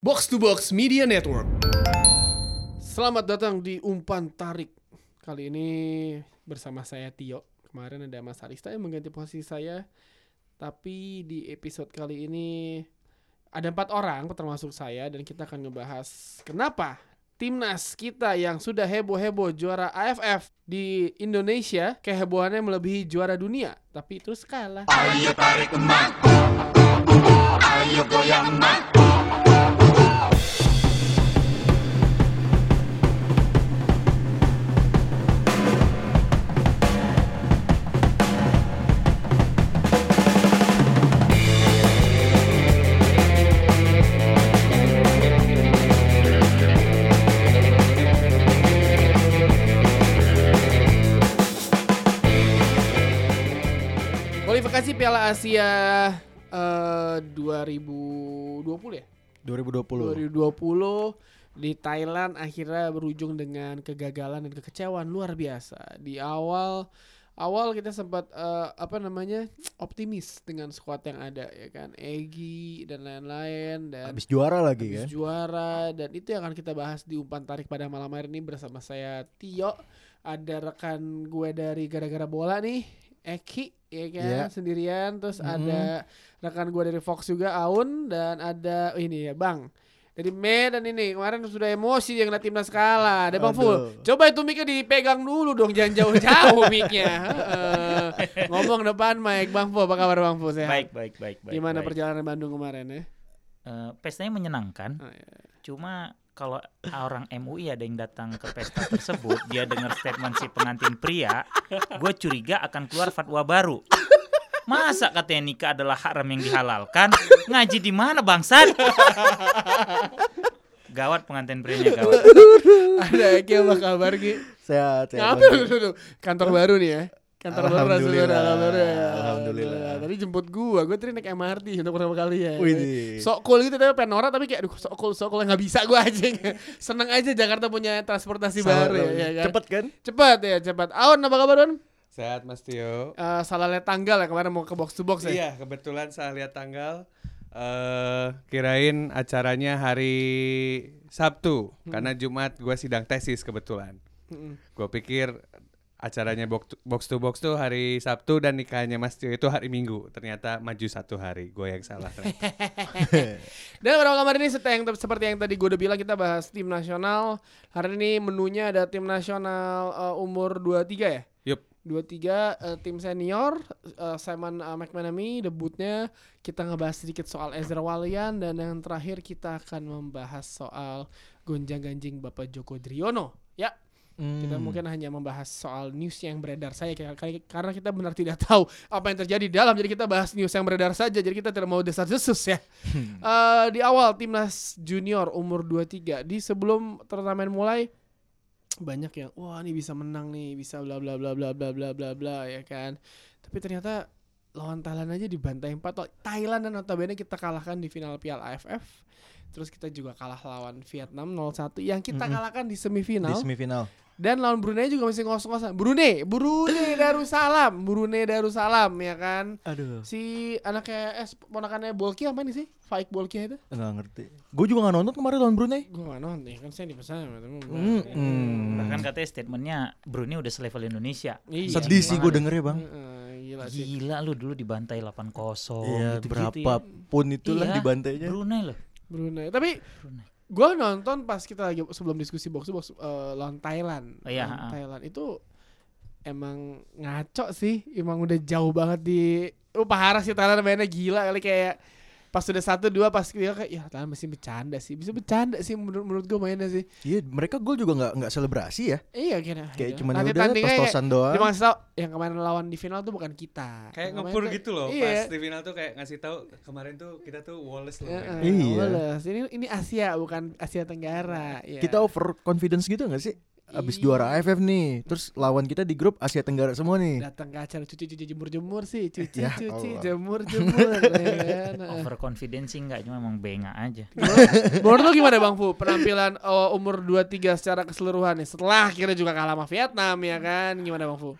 Box to Box Media Network. Selamat datang di Umpan Tarik. Kali ini bersama saya Tio. Kemarin ada Mas Arista yang mengganti posisi saya. Tapi di episode kali ini ada empat orang termasuk saya dan kita akan ngebahas kenapa timnas kita yang sudah heboh-heboh juara AFF di Indonesia kehebohannya melebihi juara dunia tapi terus kalah. Ayo tarik emak Ayo goyang emak Kualifikasi Piala Asia eh, 2020 ya? 2020. 2020 di Thailand akhirnya berujung dengan kegagalan dan kekecewaan luar biasa. Di awal awal kita sempat eh, apa namanya? optimis dengan skuad yang ada ya kan. Egi dan lain-lain dan Habis juara lagi habis kan. juara dan itu yang akan kita bahas di umpan tarik pada malam hari ini bersama saya Tio ada rekan gue dari gara-gara bola nih Eki ya kan Iya. sendirian terus Mhm. ada rekan gue dari Fox juga Aun dan ada oh ini ya Bang dari Medan ini kemarin sudah emosi yang ngeliat timnas kalah ada Bang Ful Aduh. coba itu mic-nya dipegang dulu dong jangan jauh-jauh mic-nya Heeh. ngomong depan mic Bang Ful apa kabar Bang Ful sehat Baik, baik, baik, baik. gimana baik. perjalanan Bandung kemarin ya Eh, pestanya menyenangkan. Oh, iya. Cuma kalau orang MUI ada yang datang ke pesta tersebut, dia dengar statement si pengantin pria, gue curiga akan keluar fatwa baru. Masa katanya nikah adalah haram yang dihalalkan? Ngaji di mana bangsat? gawat pengantin prianya gawat. ada Eki apa kabar Ki? Sehat, Apa sehat. bagus. lu tuh? Kantor baru nih ya? Kantor baru Alhamdulillah, Rasulullah, alhamdulillah. Tadi jemput gua, gua tadi naik MRT untuk pertama kali ya. Widih. Sok cool gitu tapi pengen norak tapi kayak aduh sok cool, sok cool nggak bisa gua aja. Seneng aja Jakarta punya transportasi baru Sama ya, dong. ya kan? Cepet kan? Cepat ya, cepat. Aun apa kabar Aun? Sehat Mas Tio. Eh, salah lihat tanggal ya kemarin mau ke box to box ya. Iya, kebetulan saya lihat tanggal eh kirain acaranya hari Sabtu karena Jumat gua sidang tesis kebetulan. Mm-mm. Gua pikir acaranya box to, box to box tuh hari Sabtu dan nikahnya Mas Tio itu hari Minggu. Ternyata maju satu hari. Gua yang salah. ternyata. Dan pada malam hari ini seperti yang, seperti yang tadi gue udah bilang kita bahas tim nasional. Hari ini menunya ada tim nasional eh, umur 23 ya. Yup. 23 eh, tim senior eh, Simon eh, McManamy debutnya kita ngebahas sedikit soal Ezra Walian dan yang terakhir kita akan membahas soal gonjang-ganjing Bapak Joko Driono. Ya, kita Hmm. mungkin hanya membahas soal news yang beredar saya kar- kar- karena kita benar tidak tahu apa yang terjadi di dalam jadi kita bahas news yang beredar saja jadi kita tidak mau desas-desus ya Hmm. Eh, di awal timnas junior umur 23 di sebelum turnamen mulai banyak yang wah ini bisa menang nih bisa bla bla bla bla bla bla bla bla ya kan tapi ternyata lawan Thailand aja dibantai 4 Thailand dan notabene kita kalahkan di final Piala AFF terus kita juga kalah lawan Vietnam 0-1 yang kita Mm-mm. kalahkan di Di semifinal semifinal. dan lawan Brunei juga masih ngos-ngosan. Brunei, Brunei Darussalam, Brunei Darussalam ya kan. Aduh, Si anaknya eh ponakannya Bolki apa nih sih? Faik Bolki itu? enggak ngerti. Gue juga nggak nonton kemarin lawan Brunei. Hmm. Gue gak nonton, kan saya dipesan sama temen gua. Mm-mm. Bahkan Kan katanya statementnya Brunei udah selevel Indonesia. Iya. Sedih sih gue Gimana? dengernya bang. Heeh, gila sih. Gila lu dulu dibantai 8-0 Oh, ya. Iya, gitu-gitu ya. berapa pun itulah Iya, dibantainya. Brunei loh. Brunei. Tapi Brunei. gue nonton pas kita lagi sebelum diskusi box to box eh, lawan Thailand. Oh, iya, Lawan ha-ha. Thailand itu emang ngaco sih, emang udah jauh banget di lu parah sih Thailand mainnya gila kali kayak pas udah satu dua pas dia kayak ya Thailand masih bercanda sih bisa bercanda sih menurut menurut gue mainnya sih Iya, mereka gol juga nggak nggak selebrasi ya. iya kira Kayak cuman ya udah tos-tosan doang. dia masih tau eh, yang kemarin lawan di final tuh bukan kita Yang Kayak ngepur kemarin tuh- gitu loh iya. pas di final tuh kayak ngasih tahu kemarin tuh kita tuh Wallace loh. Heeh, Iya. Wallace. ini ini Asia bukan Asia Tenggara ya. Kita over confidence gitu nggak sih? Iya. Abis juara AFF nih, terus lawan kita di grup Asia Tenggara semua nih. datang ke acara cuci cuci jemur jemur sih cuci Ya cuci Allah. jemur jemur ya kan? Heeh. Overconfidence sih enggak, cuma emang benga aja. menurut lu gimana bang Fu penampilan oh, umur 23 secara keseluruhan nih setelah akhirnya juga kalah sama Vietnam ya kan gimana bang Fu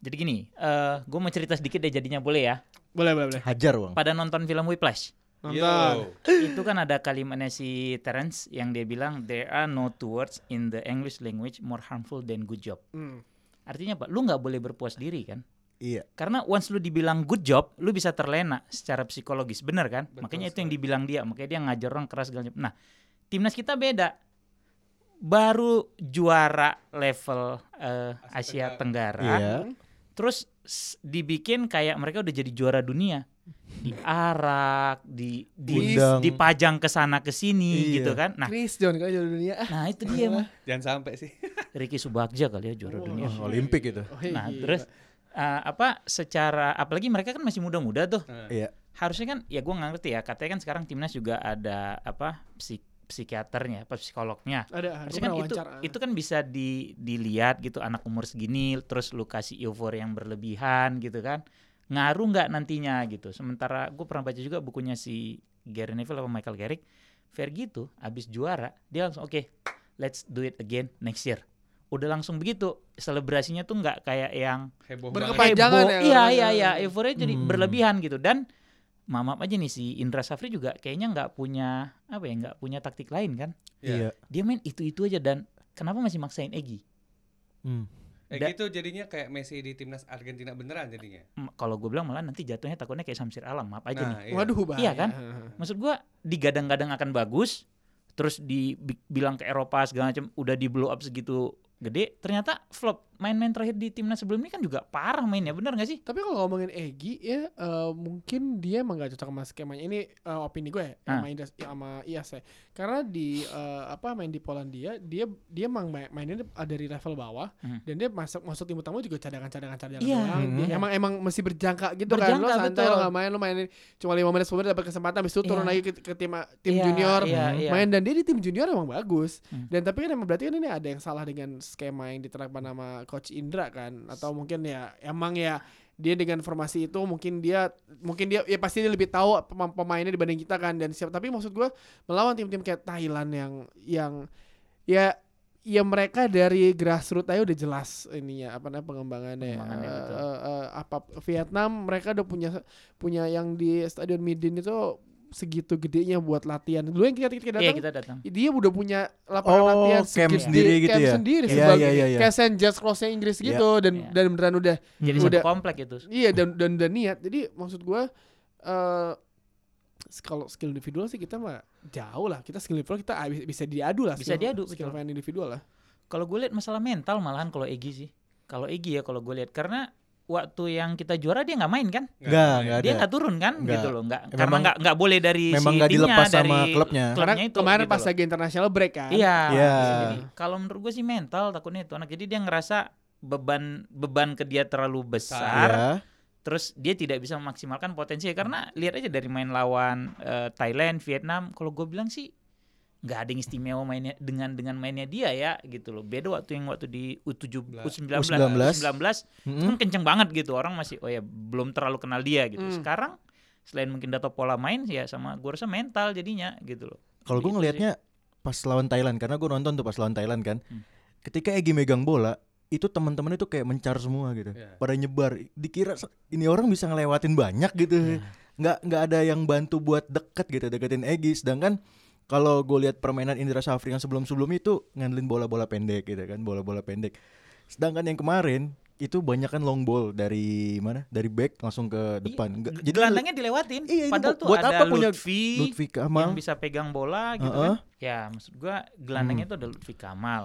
Jadi gini, eh gue mau cerita sedikit deh jadinya boleh ya. boleh boleh boleh Hajar bang. Pada nonton film Whiplash, Nonton. itu kan ada kalimatnya si Terence yang dia bilang there are no two words in the English language more harmful than good job. Hmm. Artinya apa? Lu nggak boleh berpuas diri kan? Iya. Karena once lu dibilang good job, lu bisa terlena secara psikologis, bener kan? Betul makanya itu yang dibilang dia, makanya dia ngajar orang keras segala macam. Nah, timnas kita beda. Baru juara level eh, Asia Tenggara. Iya. Terus s- dibikin kayak mereka udah jadi juara dunia. Diarak, di di Undang. dipajang ke sana ke sini Iya. gitu kan. Nah, Chris John kali juara dunia. Ah, nah itu dia mah. Jangan sampai sih. Ricky Subagja kali ya juara Wah. dunia. Oh, Olimpik itu. oh, Nah, iya. terus eh, apa secara apalagi mereka kan masih muda-muda tuh. Iya. harusnya kan ya gue nggak ngerti ya katanya kan sekarang timnas juga ada apa psik- psikiaternya apa psikolognya ada harusnya kan itu itu kan bisa di- dilihat gitu anak umur segini terus lu kasih euforia yang berlebihan gitu kan ngaruh nggak nantinya gitu sementara gue pernah baca juga bukunya si Gary Neville apa Michael Carrick Fergie tuh abis juara dia langsung oke let's do it again next year udah langsung begitu selebrasinya tuh nggak kayak yang Heboh Berkepa- banget. Kepanjangan ya heboh. Iya kalau iya iya, misalnya. euforia jadi Hmm. berlebihan gitu dan mamap aja nih si Indra Safri juga kayaknya nggak punya apa ya nggak punya taktik lain kan. Iya. Iya. Dia main itu-itu aja dan kenapa masih maksain Egi? Hmm. Eh Da- gitu jadinya kayak Messi di timnas Argentina beneran jadinya. M- Kalau gue bilang malah nanti jatuhnya takutnya kayak Samsir Alam, maaf aja nih. Nah, iya. Waduh, bahaya. Iya kan? Maksud gue digadang-gadang akan bagus, terus dibilang ke Eropa segala macam udah di blow up segitu gede, ternyata flop. Main-main terakhir di timnas sebelum ini kan juga parah mainnya, bener gak sih? Tapi kalau ngomongin Egi ya eh, mungkin dia emang gak cocok sama skemanya. Ini eh, opini gue ya, Ah. sama Indra ya, sama Iyas ya. Karena di eh, apa main di Polandia dia dia emang main- mainnya dari level bawah Hmm. dan dia masuk masuk tim utama juga cadangan-cadangan cadangan Iya. doang. Dia Hmm. Emang emang mesti berjangka gitu kan. Lo Berjangka, santai betul. lo gak main lo mainin cuma 5 menit 10 menit dapat kesempatan habis itu turun Iya. lagi ke, ke tim tim Iya, junior. iya, iya. kan? Main dan dia di tim junior emang bagus. Hmm. Dan tapi kan emang berarti kan ini ada yang salah dengan skema yang diterapkan sama coach Indra kan atau mungkin ya emang ya dia dengan formasi itu mungkin dia mungkin dia ya pasti dia lebih tahu pema- pemainnya dibanding kita kan dan siap tapi maksud gue melawan tim-tim kayak Thailand yang yang ya ya mereka dari grassroots aja udah jelas ininya apa namanya pengembangannya, Pengembangannya, Eh, betul. eh, eh, apa Vietnam mereka udah punya punya yang di stadion Midin itu segitu gedenya buat latihan dulu yang kita kita datang Iya kita datang. dia udah punya lapangan Oh, latihan camp segede- sendiri gitu camp ya? sendiri Iya, sebagai- iya, iya, iya. kayak St. Just Cross-nya Inggris Iya. gitu dan Iya. dan beneran udah Jadi Hmm. Udah. satu komplek itu. iya dan dan udah niat jadi maksud gua eh kalau skill individual sih kita mah jauh lah kita skill individual kita abis- bisa diadu lah Bisa skill- diadu, skill betul. main individual lah Kalau gue lihat masalah mental malahan kalau Egi sih. Kalau Egi ya kalau gue lihat karena waktu yang kita juara dia nggak main kan? Enggak, main. enggak Dia ada. nggak turun kan? Nggak. Gitu loh, nggak Ya, karena memang- nggak nggak boleh dari memang si nggak timnya, dilepas dari sama klubnya. karena itu, kemarin gitu pas loh. lagi international break kan Iya. Iya. Jadi kalau menurut gue sih mental takutnya itu anak. Jadi dia ngerasa beban beban ke dia terlalu besar. Iya. terus dia tidak bisa memaksimalkan potensi karena lihat aja dari main lawan eh, Thailand, Vietnam, kalau gue bilang sih nggak ada yang istimewa mainnya dengan dengan mainnya dia ya gitu loh. Beda waktu yang waktu di U17, U19, U19. U19 Mm-mm. kan kenceng banget gitu. Orang masih oh ya belum terlalu kenal dia gitu. Hmm. Sekarang selain mungkin data pola main ya sama gue rasa mental jadinya gitu loh. Kalau gue Gitu ngelihatnya pas lawan Thailand karena gue nonton tuh pas lawan Thailand kan. Hmm. Ketika Egi megang bola, itu teman-teman itu kayak mencar semua gitu. Iya. Pada nyebar. Dikira se- ini orang bisa ngelewatin banyak gitu. Iya. Nggak nggak ada yang bantu buat deket gitu deketin Egi sedangkan kalau gue lihat permainan Indra Safri yang sebelum-sebelum itu ngandelin bola-bola pendek gitu kan, bola-bola pendek. Sedangkan yang kemarin itu banyak kan long ball dari mana? Dari back langsung ke depan. Nggak- Jadi gelandangnya dilewatin. Iya, ini Padahal bu- tuh buat ada apa punya Lutfi, Lutfi yang Kamal. bisa pegang bola gitu Heeh. Hmm. kan. Ya maksud gue gelandangnya itu ada Lutfi Kamal.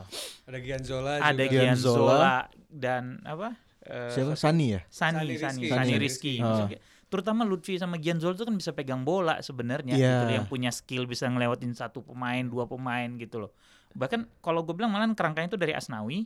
Ada Gianzola ada juga. Gian- Gianzola dan apa? eh, Siapa? Sani ya? Sani, Sani Sani, Rizky. Sani Sani Rizky. Rizky. maksudnya. Terutama Lutfi sama Gianzola itu kan bisa pegang bola sebenarnya. Iya. Gitu, yang punya skill bisa ngelewatin satu pemain, dua pemain gitu loh. Bahkan kalau gue bilang malahan kerangkanya itu dari Asnawi,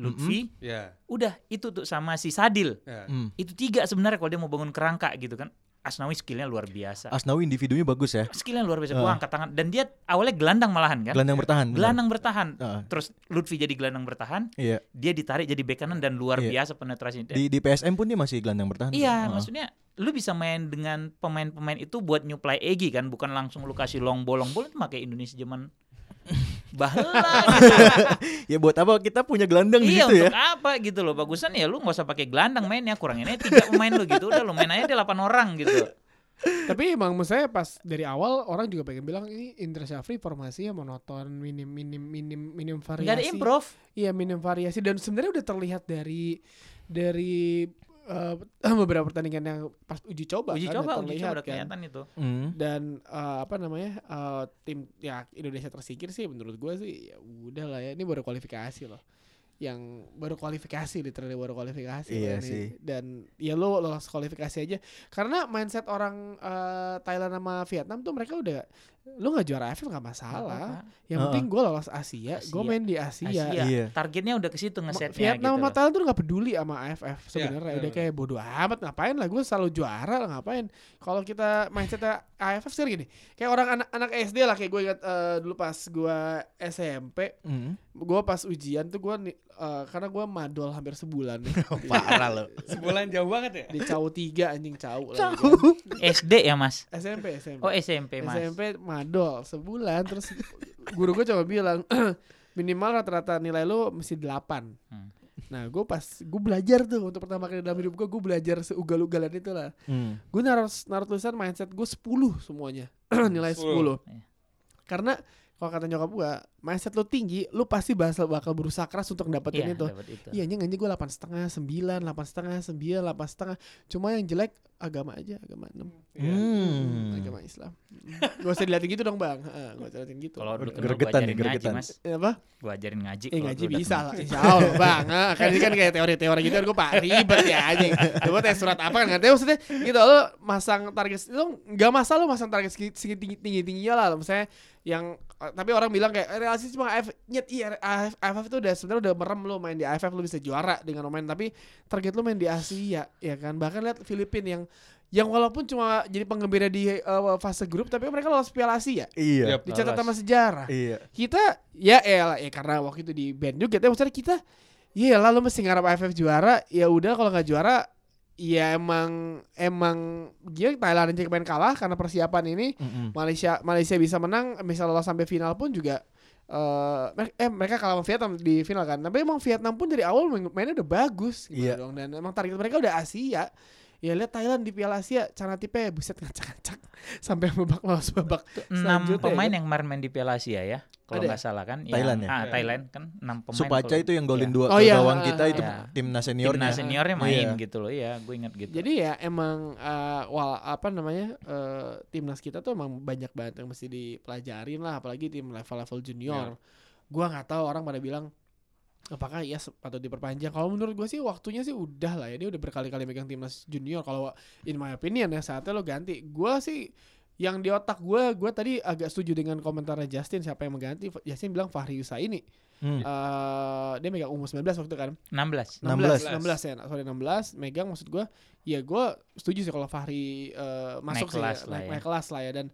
Lutfi, Ya. udah itu tuh sama si Sadil. ya. Hmm. Itu tiga sebenarnya kalau dia mau bangun kerangka gitu kan. Asnawi skillnya luar biasa. Asnawi individunya bagus ya. Skillnya luar biasa. Ah. Gue angkat tangan dan dia awalnya gelandang malahan kan. Gelandang bertahan. benar. Gelandang bertahan. Ah, Terus Lutfi jadi gelandang bertahan, iya. dia ditarik jadi bek kanan dan luar Iya. biasa penetrasinya. Di di PSM pun dia masih gelandang Kan bertahan. gitu. Iya, Heeh. maksudnya lu bisa main dengan pemain-pemain itu buat nyuplai Egi kan, bukan langsung lu kasih long bolong bolong itu pakai Indonesia zaman bahla gitu. Ya buat apa kita punya gelandang di iya situ ya? untuk apa gitu loh bagusan ya lu nggak usah pakai gelandang mainnya kurangin aja tiga pemain lu gitu udah lu main aja delapan orang gitu Tapi emang menurut saya pas dari awal orang juga pengen bilang ini Indra Syafri formasinya monoton, minim minim minim minim variasi. Gak ada improv. Iya minim variasi dan sebenarnya udah terlihat dari dari eh, beberapa pertandingan yang pas uji coba Uji kan, coba, udah uji terlihat coba udah kan. kelihatan itu. Hmm. dan eh, apa namanya eh, tim ya Indonesia tersingkir sih menurut gue sih ya udah lah ya ini baru kualifikasi loh yang baru kualifikasi literally baru kualifikasi loh Iya ini. sih. dan ya lo lolos kualifikasi aja karena mindset orang eh, Thailand sama Vietnam tuh mereka udah lo nggak juara AFF nggak masalah Apa-apa. yang Heeh. penting gue lolos Asia, gue Asia. main di Asia, Asia. Iya. Targetnya udah ke situ Ma- ngesetnya Vietnam gitu. sama loh. Thailand tuh nggak peduli sama AFF sebenarnya benar, udah benar. kayak bodo amat ngapain lah gue selalu juara lah ngapain kalau kita mindsetnya AFF sih gini kayak orang anak anak SD lah kayak gue ingat eh, dulu pas gue SMP Hmm. gue pas ujian tuh gue ni- eh, karena gue madol hampir sebulan nih Di- Oh, Parah lo. Sebulan jauh banget ya? di cau tiga anjing cau lagi kan. Tahu. SD ya mas? SMP SMP Oh SMP mas. SMP madol sebulan terus guru gue coba bilang minimal rata-rata nilai lu mesti 8 Hmm. Nah gue pas gue belajar tuh untuk pertama kali dalam hidup gue gue belajar seugal-ugalan itu lah. Hmm. Gue naruh naruh tulisan mindset gue 10 semuanya nilai 10 10. Iya. Karena kalau kata nyokap gue mindset lu tinggi lu pasti bakal bakal berusaha keras untuk Iya dapetin itu. dapat itu. Iya anjing anjing gue delapan setengah sembilan delapan setengah sembilan delapan setengah. Cuma yang jelek agama aja agama enam. Hmm. Agama Islam. Gak usah diliatin gitu dong bang. Heeh, Gak usah diliatin gitu. Kalau dulu kan gua Gregetan nih, ajarin ngaji gregetan. mas, Eh, apa? gua ajarin ngaji. Eh kalau ngaji lu udah bisa kenal. lah Insya Allah bang ah, Kan ini kan kayak teori-teori gitu kan Gue pak ribet ya anjing Coba tes surat apa kan nggak tahu maksudnya gitu Lo masang target Lo gak masalah lo masang target segi- segi tinggi-tingginya lah Misalnya yang eh, tapi orang bilang kayak eh, realistis cuma AF nyet iya AF, AFF tuh udah sebenarnya udah merem lo main di AFF lo bisa juara dengan lo main tapi target lo main di Asia ya kan bahkan lihat Filipina yang yang walaupun cuma jadi penggembira di eh, fase grup tapi mereka lolos Piala Asia Iya. Yap. dicatat Lolos. sama sejarah Iya. kita ya elah ya karena waktu itu di band juga tapi maksudnya kita ya lalu mesti ngarap AFF juara ya udah kalau nggak juara ya emang emang dia Thailand aja kemarin kalah karena persiapan ini Mm-mm. Malaysia Malaysia bisa menang misal lolos sampai final pun juga eh, mer- eh mereka kalah sama Vietnam di final kan tapi emang Vietnam pun dari awal main- mainnya udah bagus gitu Iya. dong dan emang target mereka udah Asia ya lihat Thailand di Piala Asia cara tipe buset ngacak-ngacak sampai babak lolos babak Enam selanjutnya, pemain kan? yang kemarin main di Piala Asia ya, kalau Ada nggak salah kan. Thailand ya? yang, Ah Thailand kan enam pemain. Supaca kalau- itu yang Iya. golin dua Oh, ke iya. gawang kita itu Iya. timnas Timnas seniornya. seniornya main Iya. gitu loh, iya gue inget gitu. Jadi ya emang eh, wal apa namanya eh, timnas kita tuh emang banyak banget yang mesti dipelajarin lah, apalagi tim level-level junior. Gua nggak tahu orang pada bilang apakah ya patut diperpanjang. Kalau menurut gue sih waktunya sih udah lah ya dia udah berkali-kali megang timnas junior. Kalau in my opinion ya saatnya lo ganti. Gua sih yang di otak gue, gue tadi agak setuju dengan komentarnya Justin siapa yang mengganti. Justin bilang Fahri Usaini. Hmm. Eh, dia megang umur 19 waktu itu kan. 16. 16. 16 16 ya sorry 16 megang maksud gua ya gua setuju sih kalau Fahri eh, masuk Naik sih kelas ya, lah naik, ya. naik kelas lah ya dan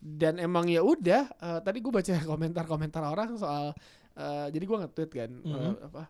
dan emang ya udah eh, tadi gua baca komentar-komentar orang soal eh, jadi gua nge-tweet kan eh, Mhm. apa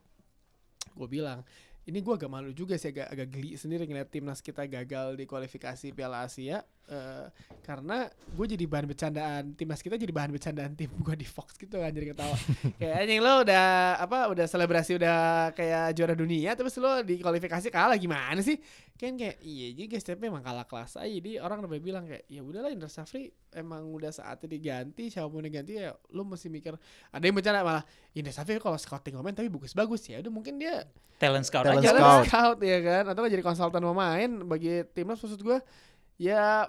gua bilang ini gua agak malu juga sih agak agak geli sendiri ngeliat timnas kita gagal di kualifikasi Piala Asia eh, karena gue jadi bahan bercandaan timnas kita jadi bahan bercandaan tim gue di Fox gitu kan jadi ketawa kayak anjing lo udah apa udah selebrasi udah kayak juara dunia terus lo di kualifikasi kalah gimana sih kan kayak iya juga guys tapi emang kalah kelas aja jadi orang udah bilang kayak ya udahlah Indra Safri emang udah saatnya diganti siapa pun diganti ya lo mesti mikir ada yang bercanda malah Indra Safri kalau scouting komen tapi bagus-bagus ya udah mungkin dia Talent scout Talent aja Jalan lah. scout. ya kan atau nggak jadi konsultan pemain bagi timnas maksud gue ya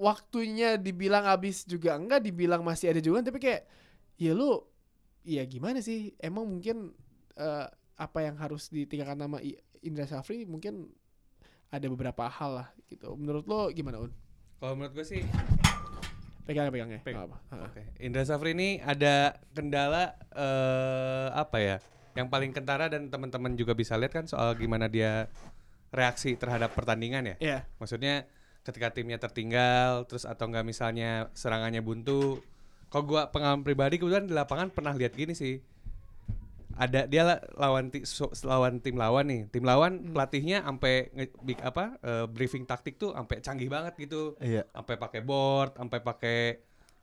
waktunya dibilang habis juga enggak dibilang masih ada juga tapi kayak ya lu ya gimana sih emang mungkin eh, apa yang harus ditinggalkan nama I- Indra Syafri mungkin ada beberapa hal lah gitu menurut lo gimana un Kalau menurut gue sih pegang pegang ya Pegang. apa Heeh. Oke. Indra Safri ini ada kendala eh apa ya? Yang paling kentara dan teman-teman juga bisa lihat kan soal gimana dia reaksi terhadap pertandingan ya. Iya. Maksudnya ketika timnya tertinggal terus atau enggak misalnya serangannya buntu. Kalau gua pengalaman pribadi kebetulan di lapangan pernah lihat gini sih. Ada dia la- lawan ti- so- lawan tim lawan nih. Tim lawan pelatihnya sampai nge- big apa eh, briefing taktik tuh sampai canggih banget gitu Iya. sampai pakai board, sampai pakai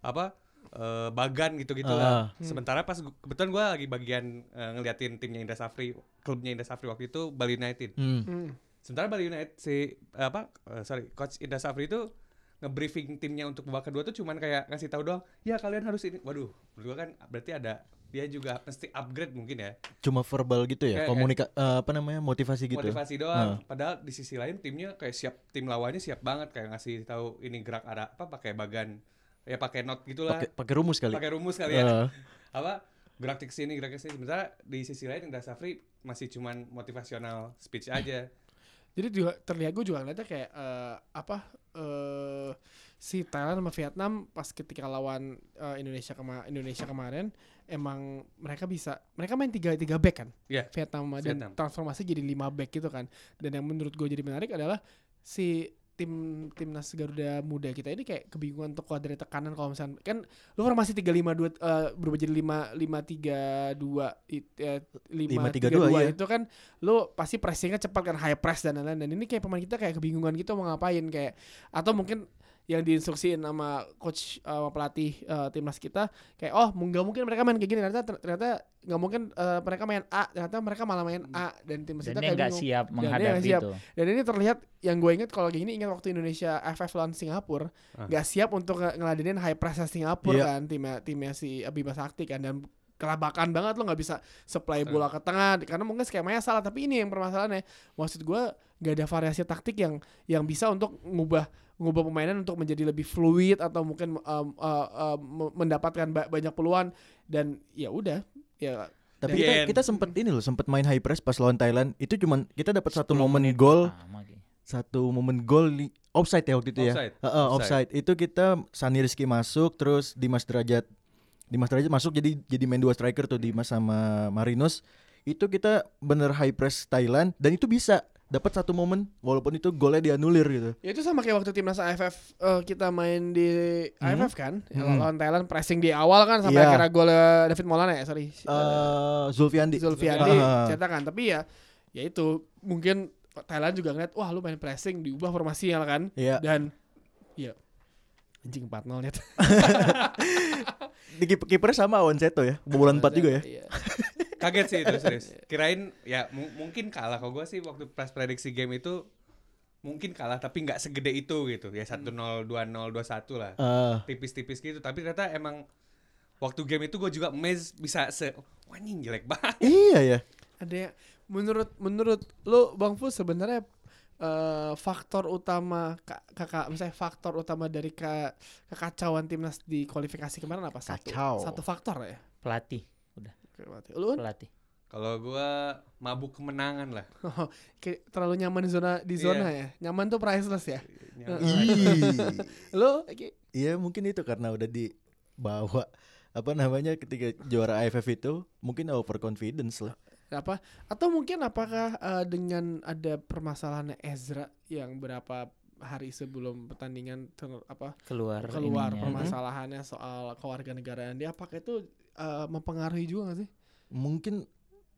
apa eh, bagan gitu-gitu Ah. lah. Sementara pas gu- kebetulan gua lagi bagian eh, ngeliatin timnya Indra Safri, klubnya Indra Safri waktu itu Bali United. Hmm. Hmm. eh, Sementara Bali United si apa eh, sorry coach Indra Safri itu ngebriefing timnya untuk babak kedua tuh cuman kayak ngasih tahu doang ya kalian harus ini waduh menurut gua kan berarti ada dia juga mesti upgrade mungkin ya Cuma verbal gitu ya, Kayak- komunika eh, apa namanya motivasi gitu. motivasi doang padahal di sisi lain timnya kayak siap tim lawannya siap banget kayak ngasih tahu ini gerak arah apa pakai bagan ya pakai not gitulah Pakai pakai rumus kali. pakai rumus kali ya Eh, apa gerak ke sini gerak ke sini sementara di sisi lain Indra Safri masih cuman motivasional speech aja Jadi juga terlihat gue juga ngeliatnya kayak eh, apa eh si Thailand sama Vietnam pas ketika lawan eh, Indonesia kema Indonesia kemarin emang mereka bisa mereka main tiga tiga back kan Iya. Vietnam sama- dan Vietnam. transformasi jadi lima back gitu kan dan yang menurut gue jadi menarik adalah si tim timnas Garuda muda kita ini kayak kebingungan untuk kuadrat tekanan kalau misalnya kan lu formasi tiga lima dua eh, berubah jadi lima lima tiga dua eh, lima tiga 5-3-2, dua iya. itu kan lu pasti pressingnya cepat kan high press dan lain-lain dan ini kayak pemain kita kayak kebingungan gitu mau ngapain kayak atau mungkin yang diinstruksiin sama coach eh, sama pelatih eh, timnas kita kayak oh mu- nggak mungkin mereka main kayak gini ternyata ternyata nggak mungkin eh, mereka main A ternyata mereka malah main A dan timnas kita Dan dia kayak nggak bingung. siap dia nggak menghadapi siap. itu. Dan ini terlihat yang gue inget kalau gini ingat waktu Indonesia FF lawan Singapura Ah. nggak siap untuk nge- ngeladenin high press Singapura Iya. kan timnya timnya si Bima Sakti kan dan kelabakan banget lo nggak bisa supply bola ke tengah karena mungkin skemanya salah tapi ini yang permasalahannya maksud gue nggak ada variasi taktik yang yang bisa untuk ngubah ngubah pemainan untuk menjadi lebih fluid atau mungkin um, uh, uh, me- mendapatkan ba- banyak peluang dan ya udah ya Tapi Dan- kita, Yen. kita sempet ini loh, sempet main high press pas lawan Thailand. Itu cuman kita dapat satu momen gol, Ah, Sama, Ki. satu momen gol li- offside ya waktu itu ya. Offside. Heeh, offside. Itu kita Sani Rizky masuk, terus Dimas Derajat, Dimas Derajat masuk jadi jadi main dua striker tuh Hmm. Dimas sama Marinus. Itu kita bener high press Thailand dan itu bisa dapat satu momen walaupun itu golnya dianulir gitu. Ya itu sama kayak waktu timnas AFF eh, kita main di AFF kan ya, Hmm. lawan Thailand pressing di awal kan sampai Iya. akhirnya gol eh, David Maulana ya sorry Iya, Eh Zulfiandi. Zulfiandi Ah. cetakan tapi ya ya itu mungkin Thailand juga ngeliat wah lu main pressing diubah formasinya kan Iya. dan ya anjing 4-0 net Di kip- kipernya sama Awan Seto ya. Bobolan 4 juga ya. Iya. kaget sih itu serius kirain ya mu- mungkin kalah kalau gue sih waktu pas prediksi game itu mungkin kalah tapi nggak segede itu gitu ya 1-0 2-0 2-1 lah Eh, tipis-tipis gitu tapi ternyata emang waktu game itu gue juga amazed bisa se wah anjing jelek banget iya ya. ada yang- menurut menurut lu Bang Fu sebenarnya eh, faktor utama ka- kakak misalnya faktor utama dari ka- kekacauan timnas di kualifikasi kemarin apa satu Kacau. satu faktor ya Pelatih, udah Oke, berarti. Lu kan pelatih. kalau gue mabuk kemenangan lah kayak terlalu nyaman di zona di zona ya. Nyaman tuh priceless ya. Iya. Iya. Ih. Lu Ki, Iya mungkin itu karena udah dibawa apa namanya ketika juara AFF itu mungkin overconfidence lah. apa atau mungkin apakah eh, dengan ada permasalahan Ezra yang berapa hari sebelum pertandingan ter- apa Keluar, keluar ininya. permasalahannya soal kewarganegaraan dia apakah itu eh, mempengaruhi juga gak sih? Mungkin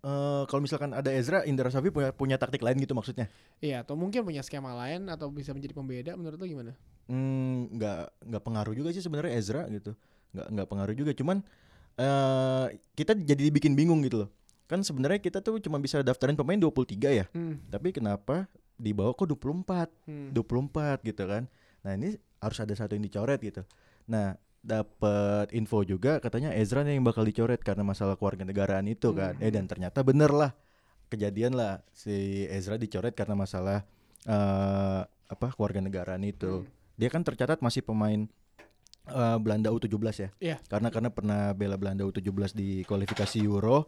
eh, kalau misalkan ada Ezra, Indra Safri punya punya taktik lain gitu maksudnya. Iya, atau mungkin punya skema lain atau bisa menjadi pembeda menurut lu gimana? Hmm, nggak nggak pengaruh juga sih sebenarnya Ezra gitu. Nggak nggak pengaruh juga. Cuman eh kita jadi bikin bingung gitu loh. Kan sebenarnya kita tuh cuma bisa daftarin pemain 23 ya. Hmm. Tapi kenapa dibawa kok 24? hmm. 24 gitu kan. Nah, ini harus ada satu yang dicoret gitu. Nah, dapat info juga katanya Ezra nih yang bakal dicoret karena masalah kewarganegaraan itu kan. Eh dan ternyata bener lah kejadian lah si Ezra dicoret karena masalah eh apa kewarganegaraan itu. Hmm, Dia kan tercatat masih pemain eh, Belanda U17 ya. Iya. Karena karena pernah bela Belanda U17 di kualifikasi Euro.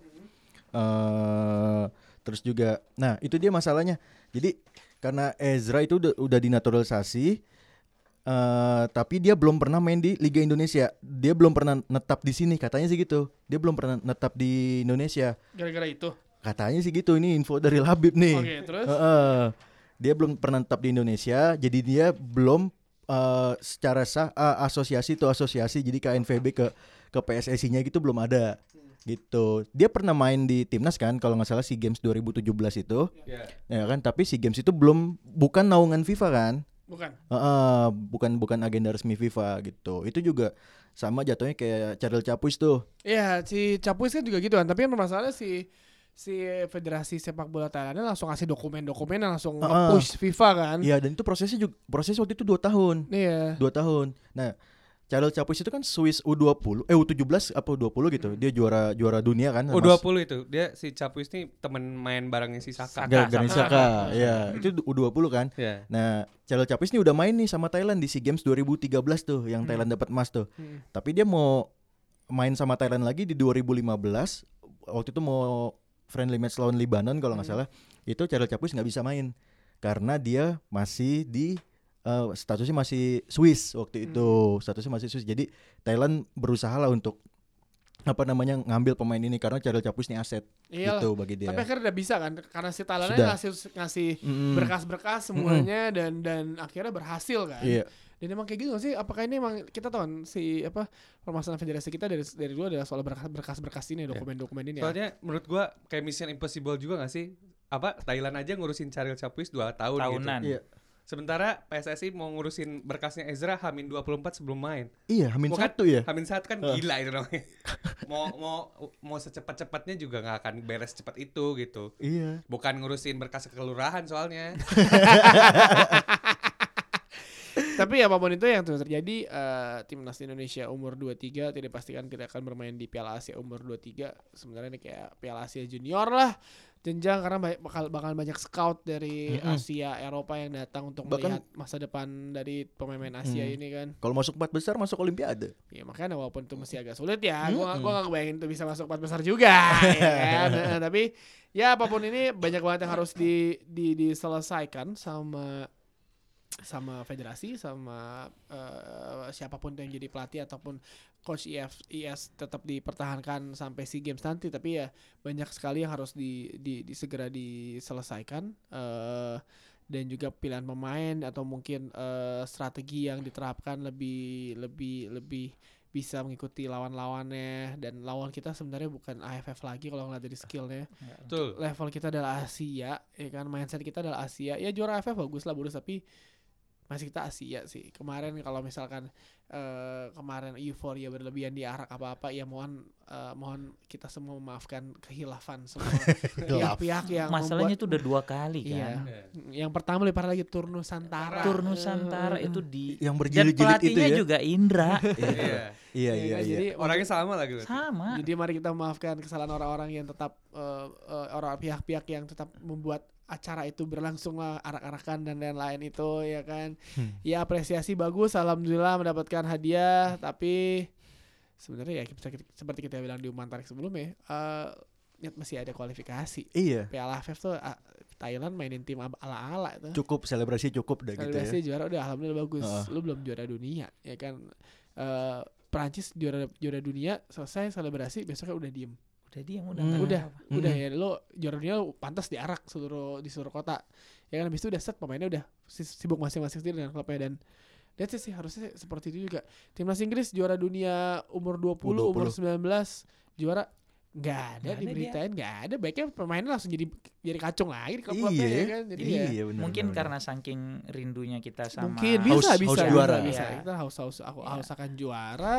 eh terus juga nah itu dia masalahnya. Jadi karena Ezra itu udah, udah dinaturalisasi eh tapi dia belum pernah main di Liga Indonesia. Dia belum pernah netap di sini katanya sih gitu. Dia belum pernah netap di Indonesia. Gara-gara itu. Katanya sih gitu ini info dari Labib nih. Oke, Eh. terus Heeh. dia belum pernah tetap di Indonesia, jadi dia belum eh, secara sah eh, asosiasi tuh asosiasi jadi KNVB ke ke PSSI-nya gitu belum ada. Gitu. Dia pernah main di timnas kan kalau nggak salah SEA Games 2017 itu. ya Ya kan, tapi SEA Games itu belum bukan naungan FIFA kan? bukan. Heeh, bukan bukan agenda resmi FIFA gitu. Itu juga sama jatuhnya kayak Charles Capuis tuh. Iya, si Capuis kan juga gitu kan, tapi yang permasalahannya si si Federasi Sepak Bola Thailandnya langsung kasih dokumen-dokumen yang langsung Heeh. nge-push FIFA kan. Iya dan itu prosesnya juga proses waktu itu dua tahun, Iya. dua tahun. Nah Charles Chapuis itu kan Swiss U20, eh U17 apa U20 gitu. Hmm. Dia juara juara dunia kan. Oh sama- 20 itu dia si Capuis nih temen main barengnya si Saka. Hmm. Ga- Ganesaka, sama- ya. Itu U20 kan. Ya. Nah, Charles Chapis nih udah main nih sama Thailand di SEA Games 2013 tuh yang Thailand dapat emas tuh. Hmm. Tapi dia mau main sama Thailand lagi di 2015. Waktu itu mau friendly match lawan Libanon kalau nggak salah. Itu Charles Chapis nggak bisa main karena dia masih di eh, statusnya masih Swiss waktu itu. Statusnya masih Swiss. Jadi Thailand berusaha lah untuk apa namanya ngambil pemain ini karena Charles Chapis nih aset Iyalah. gitu bagi Iya dia. Tapi akhirnya udah bisa kan karena si Thailandnya Sudah. Hmm. ngasih ngasih Mm-mm. berkas-berkas semuanya dan dan akhirnya berhasil kan. Iya. Dan emang kayak gitu gak sih? Apakah ini emang kita tahu kan si apa permasalahan federasi kita dari dari dulu adalah soal berkas- berkas-berkas ini, Iya. dokumen-dokumen ini. Ya. Soalnya menurut gua kayak Mission Impossible juga gak sih? Apa Thailand aja ngurusin Charil Capuis 2 tahun tahunan. gitu. Iya. Sementara PSSI mau ngurusin berkasnya Ezra Hamin 24 sebelum main. Iya, Hamin Bukan, satu ya. Eh. Hamin satu kan gila itu namanya. mau mau mau secepat-cepatnya juga nggak akan beres cepat itu gitu. Iya. Bukan ngurusin berkas kelurahan soalnya. Tapi apapun itu yang terus terjadi eh, timnas Indonesia umur 23 tidak dipastikan tidak akan bermain di Piala Asia umur 23. Sebenarnya ini kayak Piala Asia Junior lah jenjang karena banyak- bakal bakal banyak scout dari Mm-mm. Asia Eropa yang datang untuk Bahkan- melihat masa depan dari pemain-pemain Asia Hmm. ini kan. Kalau masuk empat besar masuk Olimpiade. Ya makanya walaupun itu masih agak sulit ya, Mm-mm. gua gua gak kebayangin itu bisa masuk empat besar juga ya kan. Nah, tapi ya apapun ini banyak banget yang harus di, di diselesaikan sama sama federasi sama eh, siapapun yang jadi pelatih ataupun coach E IF, IS tetap dipertahankan sampai SEA Games nanti tapi ya banyak sekali yang harus di, di, di- segera diselesaikan eh dan juga pilihan pemain atau mungkin eh, strategi yang diterapkan lebih lebih lebih bisa mengikuti lawan-lawannya dan lawan kita sebenarnya bukan AFF lagi kalau ngeliat dari skillnya Betul. level kita adalah Asia ya kan mindset kita adalah Asia ya juara AFF bagus lah bagus tapi masih kita Asia sih kemarin kalau misalkan eh, kemarin euforia berlebihan di arah apa apa ya mohon eh, mohon kita semua memaafkan kehilafan semua pihak-pihak yang membuat- Masalahnya itu udah dua kali kan. Iya. yang pertama lebih parah lagi Eh, tur Nusantara. Tur Nusantara itu di Yang dan berjilid-jilid itu pelatihnya ya. juga Indra Iya. Iya, Ya, iya, kan? iya. Jadi Orangnya sama lagi loh. sama. jadi mari kita memaafkan kesalahan orang-orang yang tetap eh, eh, orang pihak-pihak yang tetap membuat acara itu berlangsung lah arak-arakan dan lain-lain itu ya kan. Hmm. Ya apresiasi bagus alhamdulillah mendapatkan hadiah tapi sebenarnya ya kita, seperti kita bilang di umpan tarik sebelumnya eh ya masih ada kualifikasi. Iya. Piala AFF tuh ah, Thailand mainin tim ab- ala-ala itu. Cukup selebrasi cukup dah gitu ya. Selebrasi juara udah alhamdulillah bagus. Heeh. Lu belum juara dunia ya kan. Eh Perancis juara juara dunia selesai selebrasi besoknya udah diem. Udah dia udah Hmm. nggak Udah, apa-apa. Hmm. udah ya lu juara dunia lu pantas diarak seluruh di seluruh kota. Ya kan habis itu udah set pemainnya udah si- sibuk masing-masing sendiri dengan klubnya dan that's it sih harusnya seperti itu juga. Timnas Inggris juara dunia umur 20, umur 20. 19 juara nggak ada Nggak ada diberitain nggak ada baiknya pemainnya langsung jadi jadi kacung lagi di klub-klubnya Iya. ya kan jadi ya Iya, benar. Mungkin benar, karena saking rindunya kita sama mungkin bisa Haus- bisa haus bisa, juara. bisa. Iya. kita haus haus aku Iya. haus akan juara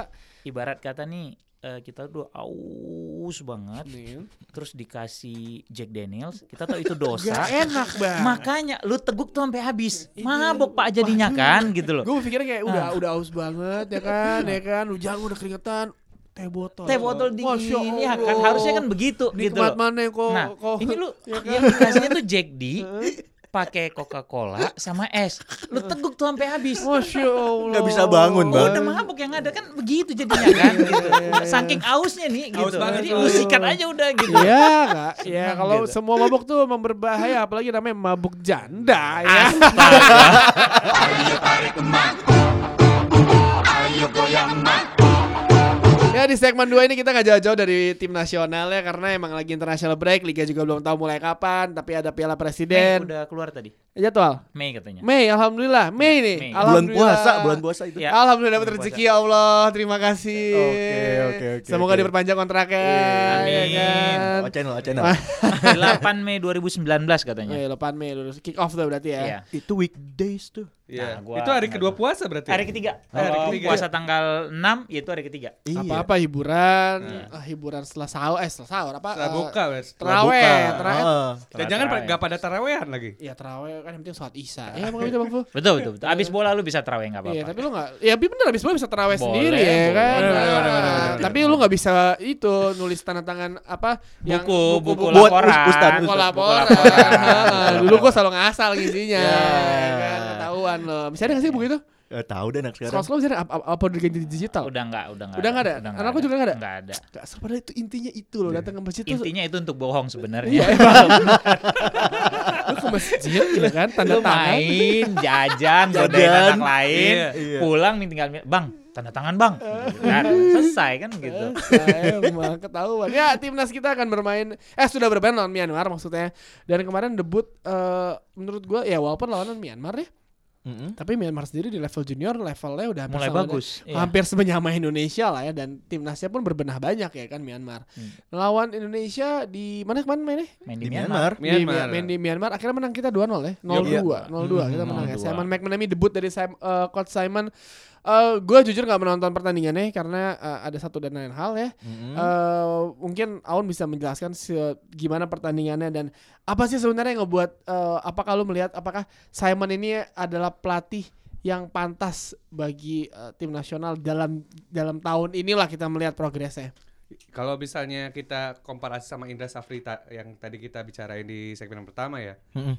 ibarat kata nih eh, kita tuh aus banget nih terus dikasih Jack Daniels kita tahu itu dosa gak enak iya, banget makanya lu teguk tuh sampai habis mabok pak jadinya kan gitu loh gue pikirnya kayak udah udah haus banget ya kan ya kan hujan udah keringetan teh botol teh botol Masya dingin ya Allah. kan harusnya kan begitu Nikmat gitu loh mana yang kok nah kok- ini lu ya kan? yang dikasihnya tuh Jack D pakai Coca-Cola sama es lu teguk tuh sampai habis Masya Allah Nggak bisa bangun, Oh, Bang. udah mabuk yang ada kan begitu jadinya kan Iya, gitu. Saking ausnya nih Aus gitu. banget Jadi tuh. lu sikat aja udah gitu. Iya kak, ya Senang kalau gitu. semua mabuk tuh emang berbahaya, apalagi namanya mabuk janda ya. Ayo tarik emakku Ayo goyang emakku Ya di segmen 2 ini kita nggak jauh-jauh dari tim nasional ya karena emang lagi international break, liga juga belum tahu mulai kapan, tapi ada Piala Mei Presiden. udah keluar tadi. Jadwal. Mei katanya. Mei alhamdulillah, Iya. Mei nih. Mei. benar. Bulan puasa, bulan puasa itu. Ya. Alhamdulillah dapat Bulan rezeki ya Allah. Terima kasih. Oke, oke, oke, Semoga oke. Iya. diperpanjang kontraknya. ya Amin. kan? Oh, channel, oh, channel. 8 Mei 2019 katanya. Oh, Eh, 8 Mei lulus kick off tuh berarti ya. Iya. itu weekdays tuh. Nah, Iya. gua- itu hari kedua puasa berarti. ya? Hari ketiga. Hari Kalau ketiga. Oh, Puasa tanggal 6 yaitu hari ketiga. Iya. apa-apa hiburan eh, hiburan setelah sahur eh setelah sahur apa Setelah eh, buka, wes. Setelah teraweh Buka. Ah, teraweh Heeh. Dan jangan pa- Terawih. nggak pada tarawehan lagi. ya teraweh kan yang penting sholat isya ya bukan gitu bang Fu Betul betul betul. Abis bola lu bisa terawih nggak Iya, apa-apa. tapi lu gak, ya tapi bener abis boleh bisa terawih Boleh, sendiri ya boleh. kan. Bener, bener, Nah, bener, bener, bener, tapi lu gak bisa itu nulis tanda tangan apa yang buku, buku, buku, Buat laporan, us- ustad, buku ustad, laporan. buku laporan. Heeh, Dulu gua selalu ngasal isinya, ya kan ketahuan lo. Bisa ada gak sih buku itu? Eh, tahu deh anak Sekolah sekarang. sekolah bisa ada apa, apa udah ganti digital? udah nggak udah nggak Udah nggak ada? Anak lu juga nggak ada? Nggak ada. Gak sabar padahal itu intinya itu loh datang ke masjid tuh. Intinya itu untuk bohong sebenarnya. Iya, emang. lu ke masjid ya kan tanda lu tangan. main jajan godain Jajan. anak lain Iya, iya. pulang nih tinggal bang tanda tangan bang Gitu kan. selesai kan gitu Saya Iya, emang ketahuan. Ya, timnas kita akan bermain eh sudah bermain lawan Myanmar maksudnya. Dan kemarin debut eh, menurut gua ya walaupun lawanan Myanmar ya, Mm-mm. tapi Myanmar sendiri di level junior levelnya udah hampir mulai sama- bagus Iya. Hampir semenyama Indonesia lah ya dan timnasnya pun berbenah banyak ya kan Myanmar. Hmm. Lawan Indonesia di mana kemarin mainnya? main Di Myanmar. Di, Myanmar. main di Myanmar akhirnya menang kita 2-0 ya. 0-2, Iya. 0-2 kita Hmm, menang ya. 0-2. Simon McManamy debut dari Sim, eh, coach Simon. Eh gue jujur nggak menonton pertandingannya karena eh, ada satu dan lain hal ya. Mm-mm. Eh, mungkin Aun bisa menjelaskan se- gimana pertandingannya dan apa sih sebenarnya yang ngebuat eh, apakah lu melihat apakah Simon ini adalah pelatih yang pantas bagi eh, tim nasional dalam dalam tahun inilah kita melihat progresnya. Kalau misalnya kita komparasi sama Indra Safri ta- yang tadi kita bicarain di segmen yang pertama ya. Mm-mm.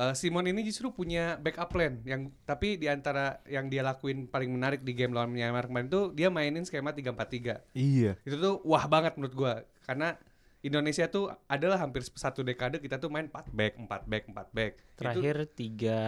Eh, Simon ini justru punya backup plan yang tapi di antara yang dia lakuin paling menarik di game lawan Myanmar kemarin tuh dia mainin skema 3-4-3. Iya. Itu tuh wah banget menurut gua karena Indonesia tuh adalah hampir satu dekade kita tuh main 4 back, 4 back, 4 back. terakhir tiga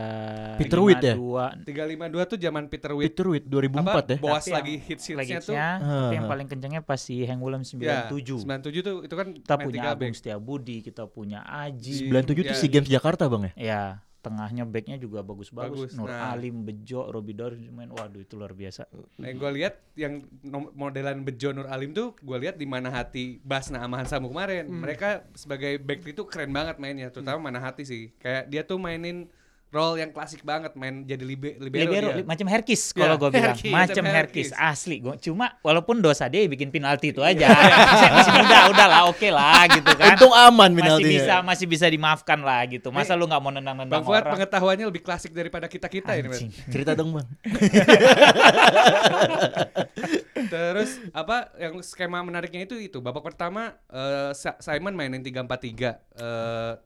Peter lima, Witt ya? dua Itu 352 tuh zaman Peter Witt Peter Witt 2004 ya. Boas Tapi lagi yang- hits lagi hitsnya tuh. hitsnya, tapi yang Ah. paling kencangnya pasti Hang Willem Ya, 97 97 tuh itu kan kita main punya tiga Agung back. Setiabudi kita punya Aji 97 tuh Iya. SEA Games Jakarta, Bang ya? ya tengahnya backnya juga bagus-bagus Bagus, Nur nah. Alim Bejo Robi Dor main waduh itu luar biasa Nah, gue lihat yang nom- modelan Bejo Nur Alim tuh gue lihat di mana hati Basna sama Hansamu kemarin. Hmm. Mereka sebagai back itu keren banget mainnya, terutama mana hati sih. Kayak dia tuh mainin role yang klasik banget, main jadi libe- libero, Libero, dia. li- macam Herkis kalau Ya, gue bilang, iya. Herkis, macam macam Herkis. Herkis. Iya, asli. Gua cuma walaupun dosa dia ya bikin penalti itu aja. Masih, masih muda, udah lah, oke lah gitu kan. Untung aman ya. masih penaltinya. bisa masih bisa dimaafkan lah gitu. Masa lu nggak mau nendang-nendang Bang Fuad orang? pengetahuannya lebih klasik daripada kita-kita ini. Anjing. Mas. Cerita dong, Bang. Terus apa yang skema menariknya itu itu babak pertama eh, Sa- Simon mainin 3-4-3. Eh,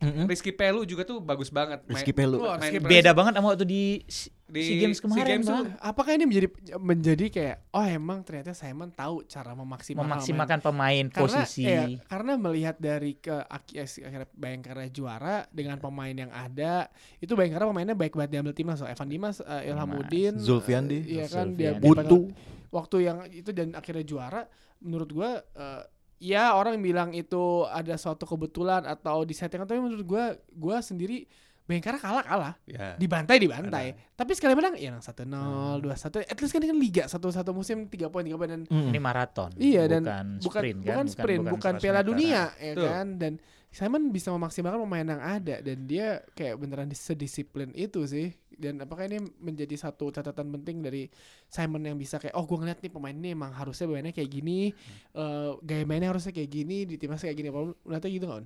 Mm-mm. Rizky Pelu juga tuh bagus banget. Main- Rizky Pelu. Wah, Rizky main- Beda banget sama waktu di, si Di SEA Games SEA kemarin, Games tuh Bang. Apakah ini menjadi menjadi kayak oh emang ternyata Simon tahu cara memaksimalkan Memaksimalkan pemain karena posisi. ya, karena melihat dari ke ak- ya, si- akhirnya Bayangkara juara dengan pemain yang ada itu Bayangkara pemainnya baik banget diambil timnas loh. Evan Dimas, eh, Ilham Dimas. Udin, Zulfiandi. eh, iya kan dia dia Zulfiandi. Butuh. bakal- waktu yang itu dan akhirnya juara menurut gua eh, ya orang bilang itu ada suatu kebetulan atau disettingan tapi menurut gua gua sendiri Bayangkara kalah kalah Ya. dibantai dibantai tapi sekali menang ya yang satu nol dua satu at least kan ini kan liga satu satu musim tiga poin tiga poin dan Ini maraton. Iya dan bukan bukan sprint kan? bukan sprint, bukan, 100 Piala meteran. Dunia ya Betul. kan dan Simon bisa memaksimalkan pemain yang ada dan dia kayak beneran dis- sedisiplin itu sih dan apakah ini menjadi satu catatan penting dari Simon yang bisa kayak oh gue ngeliat nih pemain ini emang harusnya mainnya kayak gini eh, gaya mainnya harusnya kayak gini di timnas kayak gini apa ngeliatnya gitu kan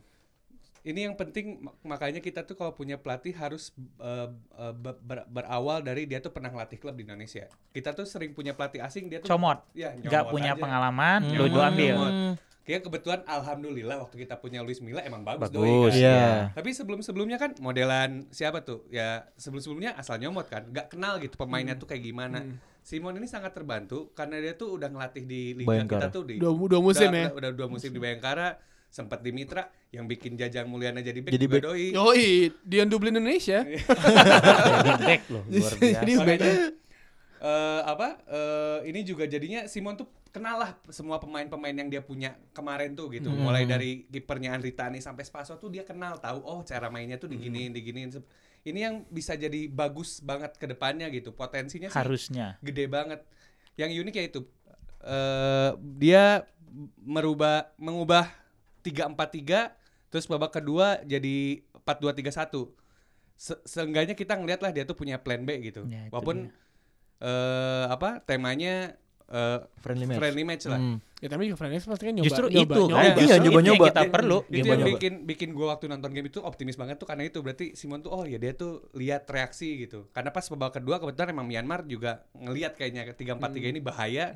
Ini yang penting mak- makanya kita tuh kalau punya pelatih harus eh, eh, ber- ber- berawal dari dia tuh pernah ngelatih klub di Indonesia. Kita tuh sering punya pelatih asing dia tuh Comot. Ya, Nggak nyomot punya aja. pengalaman, Hmm. lu Nyomot, ambil. nyomot. Kayak kebetulan alhamdulillah waktu kita punya Luis Milla emang bagus, doi, Bagus. kan? Iya. Tapi sebelum-sebelumnya kan modelan siapa tuh? Ya sebelum-sebelumnya asal nyomot kan, nggak kenal gitu Hmm. pemainnya tuh kayak gimana. Simon ini sangat terbantu karena dia tuh udah ngelatih di liga Bayangkara. kita tuh di dua, dua musim udah, ya Udah, udah dua musim di Bayangkara, sempat di Mitra yang bikin Jajang Mulyana jadi back Jadi juga back. doi. Yoi, Dion Dublin Indonesia Jadi back loh, Iya, luar biasa. jadi Makanya, back- eh, apa eh, ini juga jadinya Simon tuh kenal lah semua pemain-pemain yang dia punya kemarin tuh gitu mulai dari kipernya Andri Tani sampai Spaso tuh dia kenal tahu oh cara mainnya tuh diginiin diginiin ini yang bisa jadi bagus banget ke depannya gitu potensinya sih Harusnya. gede banget. Yang unik ya itu eh dia merubah mengubah 3-4-3 terus babak kedua jadi 4-2-3-1. se- seenggaknya kita ngeliat lah dia tuh punya plan B gitu. Ya, itu Walaupun eh apa temanya eh, Friendly match. friendly match lah. Hmm. Ya tapi juga friendly match pastinya nyoba Justru nyoba, itu nyoba. ya. Iya, kan, Iya, justru itu yang nyoba-nyoba. kita perlu. Itu Nyoba, yang nyoba. bikin bikin gue waktu nonton game itu optimis banget tuh karena itu berarti Simon tuh oh ya dia tuh lihat reaksi gitu. Karena pas babak kedua kebetulan emang Myanmar juga ngelihat kayaknya 3-4-3 ini bahaya.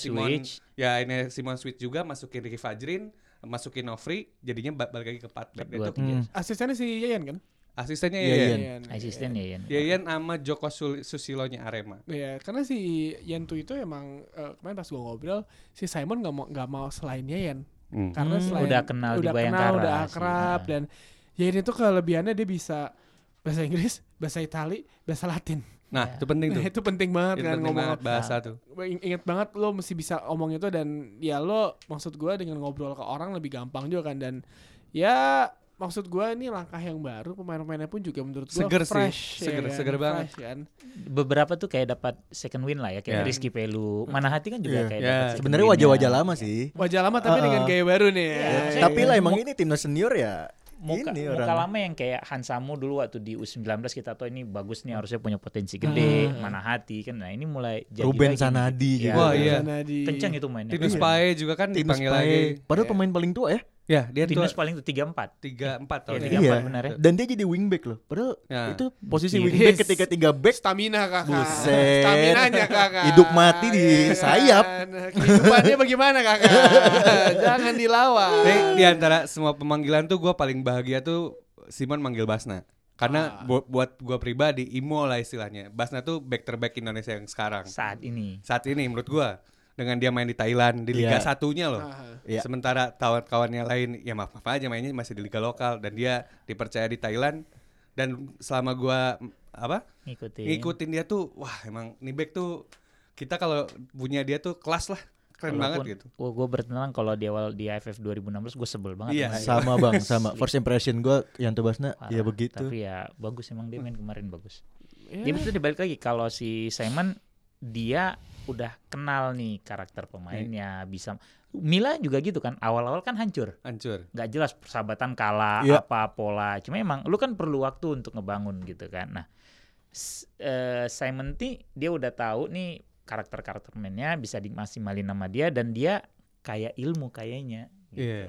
Dia Simon switch. ya ini Simon switch juga masukin Ricky Fajrin, masukin Nofri, jadinya ba- balik lagi ke 4 back. Dia Dua, tuh tiga. Asistennya si Yayan kan? asistennya Iya, ya. iya. Yayan. Asisten ya Yan. Yayan sama Joko Sul- Susilonya Arema. Iya, karena si Yantu itu emang eh, kemarin pas gua ngobrol si Simon nggak mau nggak mau selain Yayan karena Hmm, selain udah kenal udah di kenal Bayangkara udah sih, Iya. akrab ha. dan Yayan itu kelebihannya dia bisa bahasa Inggris, bahasa Itali, bahasa Latin. Nah, itu penting tuh. Nah, itu penting banget Itu kan penting ngomong banget bahasa tuh. Ing- inget banget lo mesti bisa omong itu dan ya lo maksud gue dengan ngobrol ke orang lebih gampang juga kan dan ya maksud gue ini langkah yang baru pemain-pemainnya pun juga menurut gue Seger sih, fresh seger- ya kan? seger banget. Fresh kan? Beberapa tuh kayak dapat second win lah ya kayak Ya. Iya. Rizky Pelu. Mana hati kan juga Iya. kayak Ya. dapat second Sebenarnya win-nya. wajah-wajah lama sih. wajah lama tapi Uh-uh. dengan gaya baru nih Iya, ya. maksudnya Tapi lah Iya. emang ini timnas senior ya. muka, ini muka orang. lama yang kayak Hansamu dulu waktu di U19 kita tahu ini bagus nih harusnya punya potensi gede, mana hati kan. Nah, ini mulai jadi Ruben lagi. Sanadi gitu. Iya. juga. Wah, iya. Sana di- Kencang itu mainnya. Tinus Iya. Pae juga kan Timnas dipanggil Pae. lagi. Iya. Padahal pemain paling tua ya. Ya, dia tuh Tinus paling tuh 34. 3 4 tahun. Iya, ya. tiga, empat benar ya. Dan dia jadi wingback loh. Padahal Ya. itu posisi Iya. wingback Yes. ketika tiga back stamina kakak Buset. Staminanya kakak Hidup mati di Iya sayap. kan? kehidupannya bagaimana kakak jangan dilawan Tapi di antara semua pemanggilan tuh gue paling bahagia tuh Simon manggil Basna. Karena bu- buat gue pribadi Imo lah istilahnya. Basna tuh back terback Indonesia yang sekarang. Saat ini. Saat ini menurut gue dengan dia main di Thailand di Liga Iya. satunya loh. Aha. Iya. Sementara kawan-kawannya lain ya maaf maaf aja mainnya masih di liga lokal dan dia dipercaya di Thailand dan selama gua m, apa Ngikutin. Iya. ngikutin dia tuh wah emang nih back tuh kita kalau punya dia tuh kelas lah keren banget gitu. gue bertenang kalau di awal di AFF 2016 gue sebel banget. sama Iya. dia. sama bang sama first impression gue yang tebasnya Parah. ya begitu. Tapi ya bagus emang dia main kemarin bagus. Iya. Dia itu dibalik lagi kalau si Simon dia udah kenal nih karakter Iya. pemainnya bisa Mila juga gitu kan awal-awal kan hancur Hancur. nggak jelas persahabatan kalah Iya. apa pola cuma emang lu kan perlu waktu untuk ngebangun gitu kan nah s- eh, Simon T dia udah tahu nih karakter-karakter mainnya bisa dimaksimalin nama dia dan dia kayak ilmu kayaknya gitu. Iya.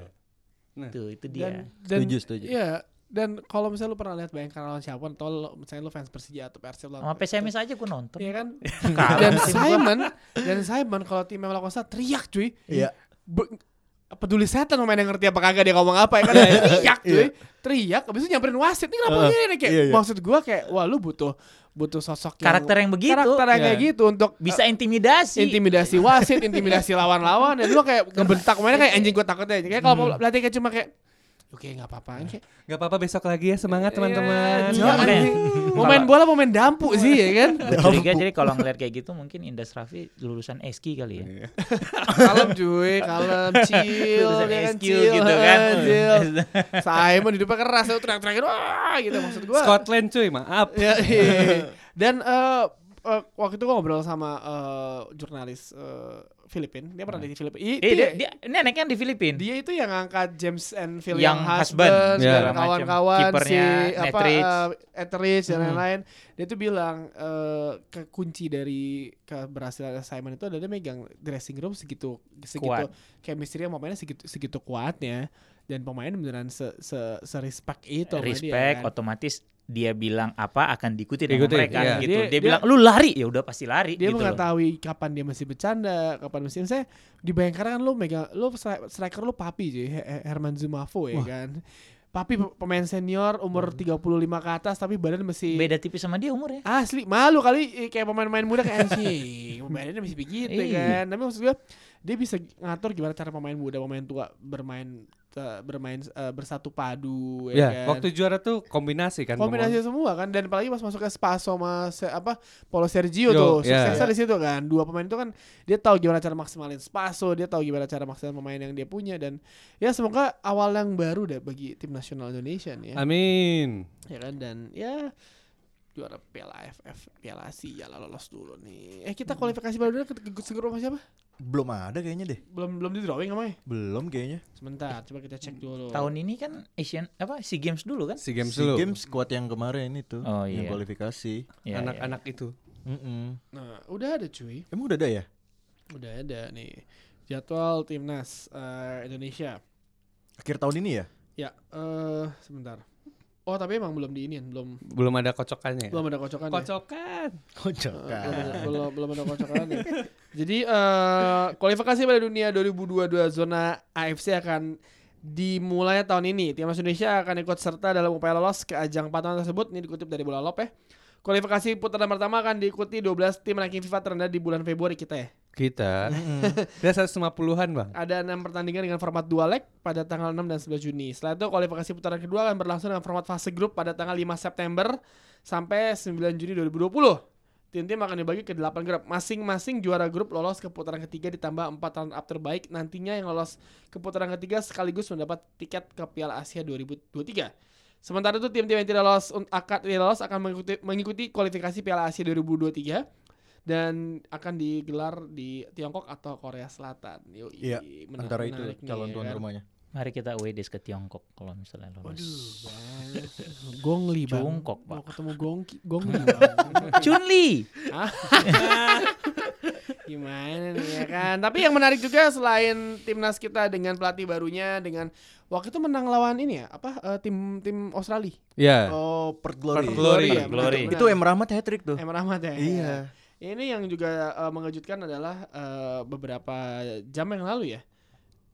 Nah. Tuh, itu dia dan, dan Setuju, setuju. Iya, dan kalau misalnya lu pernah lihat Bayangkara lawan siapa atau lu- misalnya lu fans Persija atau Persib lawan sama PSMS aja gue nonton Iya kan? Kalah dan tim gua. Simon, dan Simon kalau timnya melakukan salah teriak cuy. Iya. Be- peduli setan pemain yang ngerti apa kagak dia ngomong apa ya kan teriak cuy teriak abis itu nyamperin wasit nih kenapa Heeh, gini nih kayak iya, iya. maksud gua kayak wah lu butuh butuh sosok Karakter yang begitu. karakter yang Iya. kayak gitu untuk bisa intimidasi intimidasi wasit, intimidasi lawan-lawan, dan lu kayak ngebentak mainnya kayak anjing gue takutnya. Kayak kalau pelatih kayak cuma kayak Oke nggak apa-apa Kayak, Gak apa-apa besok lagi ya semangat "Iya, teman-teman. Jangan. anjing. Mau main bola mau main dampu sih ya kan Gua curiga jadi kalau ngeliat kayak gitu mungkin Indas Raffi lulusan SK kali ya Kalem cuy Kalem Chill Lulusan ya SQ gitu kan chill. Simon hidupnya keras Lu teriak-teriakin Wah gitu maksud gue Scotland cuy maaf. Ya, iya. Dan eh, eh, waktu itu gue ngobrol sama eh, jurnalis eh, Filipin Dia pernah di Filipin I- eh, dia, dia neneknya di Filipina Dia itu yang angkat James and Phil Yang yang, husband, husband, ya. dan kawan-kawan Macam si kipernya, apa Etheridge. eh, Etheridge dan lain-lain. Dia tuh bilang eh, ke kunci dari keberhasilan Simon itu adalah dia megang dressing room segitu segitu Kuat. chemistry yang pemainnya segitu segitu kuatnya dan pemain beneran se se, respect itu sama dia, respect kan. otomatis dia bilang apa akan diikuti sama Diikuti, mereka iya. gitu. Dia, Dia- dia- bilang lu lari ya udah pasti lari dia gitu loh. mengetahui kapan dia masih bercanda, kapan masih saya di Bayangkara kan lu megang lu stri- striker lu Papi cuy, He- He- Herman Zumafo ya kan. Papi pe- pemain senior umur 35 ke atas tapi badan masih Beda tipis sama dia umurnya. asli malu kali eh, kayak pemain-pemain muda kayak anjing. Badannya masih begitu Iya. kan. Tapi maksud gue dia bisa ngatur gimana cara pemain muda, pemain tua bermain eh, bermain eh, bersatu padu Iya, Ya, kan? waktu juara tuh kombinasi kan. kombinasi Bang. semua kan dan apalagi pas masuknya Spaso sama se- apa Paulo Sergio Yo, tuh iya. suksesnya di situ kan dua pemain itu kan dia tahu gimana cara maksimalin Spaso dia tahu gimana cara maksimalin pemain yang dia punya dan ya semoga awal yang baru deh bagi tim nasional Indonesia nih ya, Amin. ya kan dan ya juara Hmm. Piala AFF Piala Asia lah lolos dulu nih eh kita kualifikasi baru dulu ke ke- ke grup sama siapa belum ada kayaknya deh. Belum belum di drawing namanya. Belum kayaknya. Sebentar, coba kita cek dulu. Tahun ini kan Asian apa Sea Games dulu kan? Si games SEA dulu. Games kuat yang kemarin itu, Oh, yang iya. kualifikasi. Ya, ya. Anak-anak itu. Mm-mm. Nah, udah ada cuy. Emang udah ada ya? Udah ada nih. Jadwal timnas eh, Indonesia. Akhir tahun ini ya? Ya, eh sebentar. Oh, tapi emang belum diinin, belum Belum ada kocokannya. belum ada kocokan. ya? Kocokan. Oh, Kocok. Eh, belum ada- belum belum ada kocokan. ya. Jadi eh kualifikasi pada dunia 2022 zona AFC akan dimulai tahun ini. Timnas Indonesia akan ikut serta dalam upaya lolos ke ajang patokan tersebut. Ini dikutip dari Bola Lop ya. Kualifikasi putaran pertama akan diikuti 12 tim ranking FIFA terendah di bulan Februari kita Ah. ya. Kita. Dia 150-an, Bang. Ada 6 pertandingan dengan format dua leg pada tanggal 6 dan 11 Juni. Setelah itu kualifikasi putaran kedua akan berlangsung dengan format fase grup pada tanggal 5 September sampai 9 Juni 2020. Tim-tim akan dibagi ke 8 grup. Masing-masing juara grup lolos ke putaran ketiga ditambah 4 round up terbaik. Nantinya yang lolos ke putaran ketiga sekaligus mendapat tiket ke Piala Asia 2023. Sementara itu tim-tim yang tidak lolos un- akan tidak lolos akan mengikuti, mengikuti kualifikasi Piala Asia 2023 dan akan digelar di Tiongkok atau Korea Selatan. Yoi, Iya, menarik- Antara itu menarik nih, calon ya tuan Iya, kan? rumahnya. Mari kita away ke Tiongkok kalau misalnya lolos. Gongli bang. Jongkok, Mau Pak. ketemu Gongki, Gongli bang. Chunli. Gimana nih ya kan? Tapi yang menarik juga selain timnas kita dengan pelatih barunya dengan waktu itu menang lawan ini ya apa eh, tim tim Australia. Ya. Oh, Perth Glory. Perth Glory. ya, Perth Glory. benar. Itu Em Rahmat hat trick tuh. Emre Ahmad ya. Iya. Ini yang juga eh, mengejutkan adalah eh, beberapa jam yang lalu ya.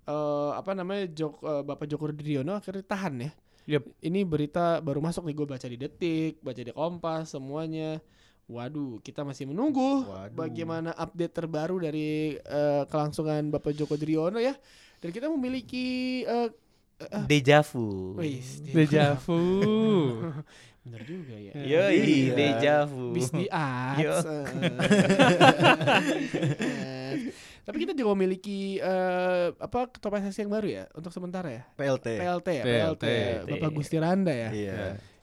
Eh, apa namanya Jok, eh, Bapak Joko Driono akhirnya tahan ya. Yep. Ini berita baru masuk nih gue baca di Detik, baca di Kompas semuanya. Waduh, kita masih menunggu Waduh. bagaimana update terbaru dari eh, kelangsungan Bapak Joko Driono ya. Dan kita memiliki eh, Deja vu. wis, Deja vu. Bener juga ya. Yoi, Iya. deja vu. Bis di ads. Yo. eh. Tapi kita juga memiliki eh, apa ketua PSSI yang baru ya untuk sementara ya. PLT. Iya. PLT ya, PLT, PLT. Bapak Gusti Randa ya. Iya.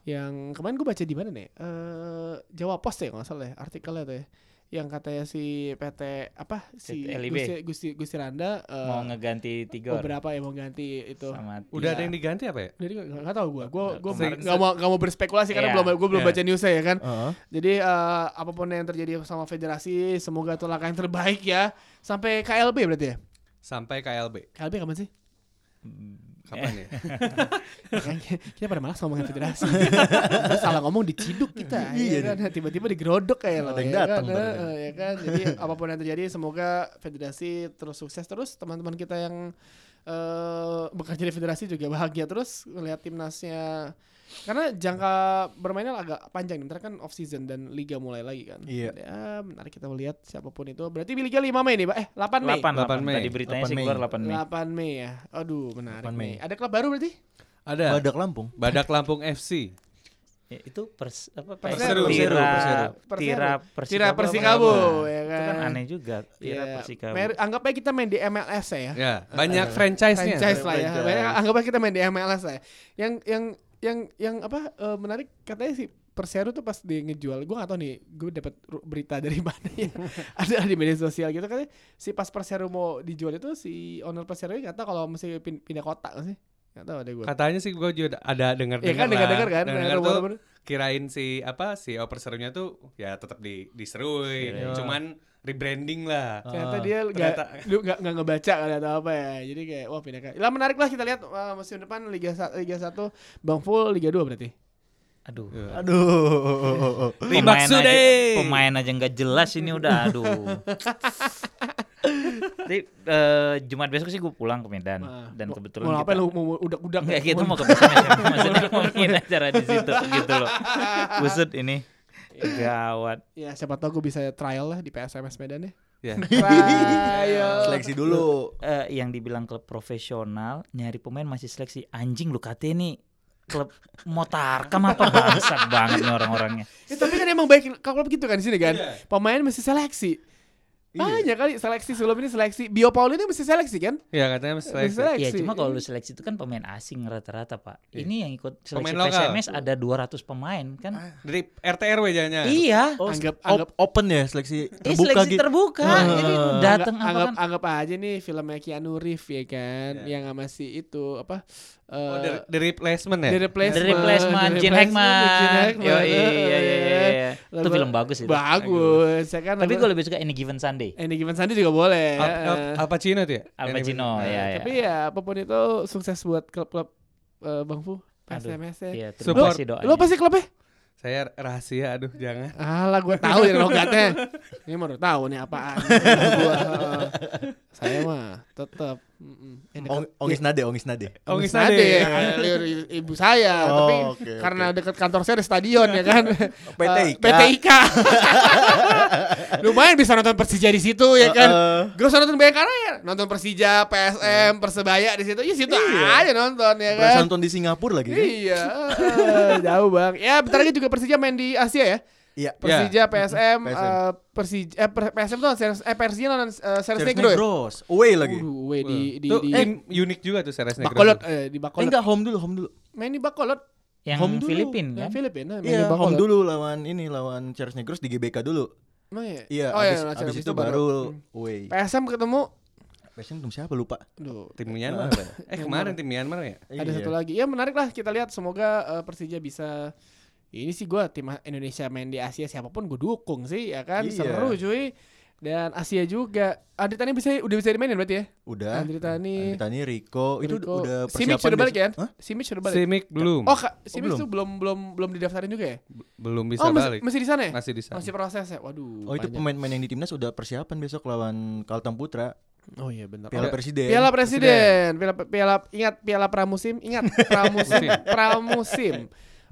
Yang kemarin gue baca di mana nih? Eh Jawa Post ya nggak salah ya artikelnya tuh ya. Yang katanya si PT apa si LIB. Gusti Gusti, Gusti Randa eh, Mau ngeganti Tigor beberapa yang mau ganti itu. sama iya. Tia. Udah ada yang diganti apa ya? Jadi gak, gak tau gue, gue gue Kemarin nggak mau nggak mau berspekulasi karena Iya, belum gue belum iya. baca newsnya ya kan. Heeh. Jadi eh, apapun yang terjadi sama federasi, semoga itu langkah yang terbaik ya. Sampai KLB berarti ya? Sampai KLB. KLB kapan sih? Hmm, Eh. Kapan ya? Kan kita pada malas ngomongin federasi. Terus salah ngomong diciduk kita. ya Iya kan? Tiba-tiba digerodok kayak lo. Ada yang ya datang kan? ntar. Eh, eh, ya kan? Jadi apapun yang terjadi, semoga federasi terus sukses terus. Teman-teman kita yang eh bekerja di federasi juga bahagia terus melihat timnasnya. Karena jangka bermainnya agak panjang nih. Ntar kan off season dan liga mulai lagi kan. Iya. Ya, menarik kita melihat siapapun itu. Berarti di liga 5 Mei nih, Pak. Eh, 8 Mei. 8, 8 Mei. Tadi beritanya 8 sih Mei. keluar 8 Mei. 8 Mei ya. Aduh, menarik Mei. 8 Mei. Ada klub baru berarti? Ada. Badak Lampung. Badak Lampung FC. Ya, itu pers apa Perseru, Tira perseru, perseru. Tira Tira Persikabo. Persikabo, apa? ya Itu kan kan? aneh juga. Tira Iya. Persikabo. Mer- anggapnya kita main di MLS ya. ya. Ya, banyak franchise-nya. Franchise lah ya. Franchise. Banyak- anggapnya kita main di MLS lah. Ya. Yang yang yang yang apa eh, menarik katanya sih Persero tuh pas di ngejual, gue gak tau nih, gue dapat ru- berita dari mana ya, ada di media sosial gitu katanya si pas Persero mau dijual itu si owner Persero nggak tahu kalau mesti pin- pindah kota nggak sih, nggak tahu ada gue. Katanya sih gue juga ada dengar Iya kan dengar-dengar kan, tuh rumor-rumor. kirain si apa si oper serunya tuh ya tetap di diserui, Iya. cuman rebranding lah. Ah, Ternyata dia nggak ternyata. lu nggak nggak ngebaca kali atau apa ya. Jadi kayak wah pindah ke. Lah menarik lah kita lihat wah, musim depan Liga Sa- Liga 1 Bang Full Liga 2 berarti. Aduh. Iya. Aduh. Ribak Pemain sudah. aja, pemain aja nggak jelas ini udah aduh. Jadi eh, Jumat besok sih gue pulang ke Medan Nah, dan mau- kebetulan mau kita, apa lu mau mau udak-udak Enggak ya? gitu mau ke Medan ya. maksudnya mau bikin acara di situ gitu loh. Busut ini. Gawat. Ya siapa tahu gue bisa trial lah di PSMS Medan ya. Ya. Iya. Trial. Seleksi dulu. Eh, yang dibilang klub profesional nyari pemain masih seleksi anjing lu katanya nih klub motarkam apa bangsat banget nih orang-orangnya. Ya, tapi kan emang baik kalau begitu kan di sini kan. Pemain mesti seleksi. Banyak kali seleksi sebelum ini seleksi. Bio Paulo ini mesti seleksi kan? Ya katanya mas Mesti seleksi. Ya cuma kalau lu seleksi itu kan pemain asing rata-rata pak. Iya. Ini yang ikut seleksi Pemain lokal. PSMS ada 200 pemain kan. Ah. Dari RT RW jadinya. Iya. Oh, Anggap- op- anggap- open ya seleksi Ini terbuka seleksi gitu. terbuka. Jadi Ah. datang apa anggap, kan? anggap anggap aja nih filmnya Keanu Reeves ya kan Iya. yang sama si itu apa Oh, eh, dari, dari replacement ya? The Replacement, The The Replacement, Gene Replacement, Gene Hackman. Hackman. Yo, iya, iya, iya, iya, iya. Itu Lalu- film bagus itu. Bagus, ya kan? Tapi Lalu- gue lebih suka Any Given Sunday. Andy Given Sandi juga boleh. Al, Al, Al Pacino tuh ya? Al Pacino Yang- ya. Tapi ya apapun itu sukses buat klub-klub eh, Bang Fu. PSMS ya. Iya, terima Support. kasih doanya. Lu apa sih klubnya? Saya rahasia, aduh jangan. Alah gue tahu ya logatnya. Ini baru tahu nih apaan. Gua, eh, Saya mah tetap mm-mm. Yang dekat- Ong- Ongis nade, ongis nade. Ongis Ongis Nade, Nade. ya, liur i- ibu saya, Oh, tapi oke, oke. karena dekat kantor saya ada stadion ya kan. PTIK. Eh, PTIK. Lumayan bisa nonton Persija di situ ya Iya kan. Heeh. Gue usah nonton Bayangkara ya, nonton Persija, PSM, Persebaya di situ. Ya situ Iya. aja nonton ya Berasa kan. nonton di Singapura lagi. kan? Iya, eh, jauh bang. Ya bentar lagi juga Persija main di Asia ya. Iya. Persija, PSM, PSM. eh, Persija, eh, per- PSM tuh Seres, eh Persija nonton eh, Seres Series Negro ya. Negros. Away lagi. Waduh, weh, di di, tuh, di eh, unik juga tuh Seres Negro. Bakolot, eh, di Eh, Bakolot. enggak home dulu, home dulu. Main di Bakolot. Yang Home dulu. Filipin Nah, kan? Filipina main Iya, di Bacolod. home dulu lawan ini lawan Charles Negros di GBK dulu. Emang ya? Iya, Oh, abis, iya, abis abis itu, baru away. PSM ketemu Passion belum siapa lupa. Duh, Tim Myanmar. eh kemarin tim Myanmar ya? ada Iya. satu lagi. Ya menarik lah kita lihat semoga eh, Persija bisa ini sih gua tim Indonesia main di Asia siapapun gue dukung sih ya kan Iya. seru cuy. Dan Asia juga. Andri Tani bisa udah bisa dimainin berarti ya? Udah. Andri Tani. Andri Tani, Rico, itu Iya. Rico. udah Simic persiapan. sudah balik besok. ya? Hah? Simic sudah balik. Simic belum. Oh, Kak, Simic belum. tuh belum belum belum didaftarin juga ya? Belum bisa oh, masih, balik. masih di sana ya? Masih di sana. Masih proses ya? Waduh. Oh itu panjang. pemain-pemain yang di timnas udah persiapan besok lawan Kalteng Putra Oh iya benar. Piala Presiden. Piala Presiden, piala piala ingat piala pramusim, ingat pramusim, pramusim.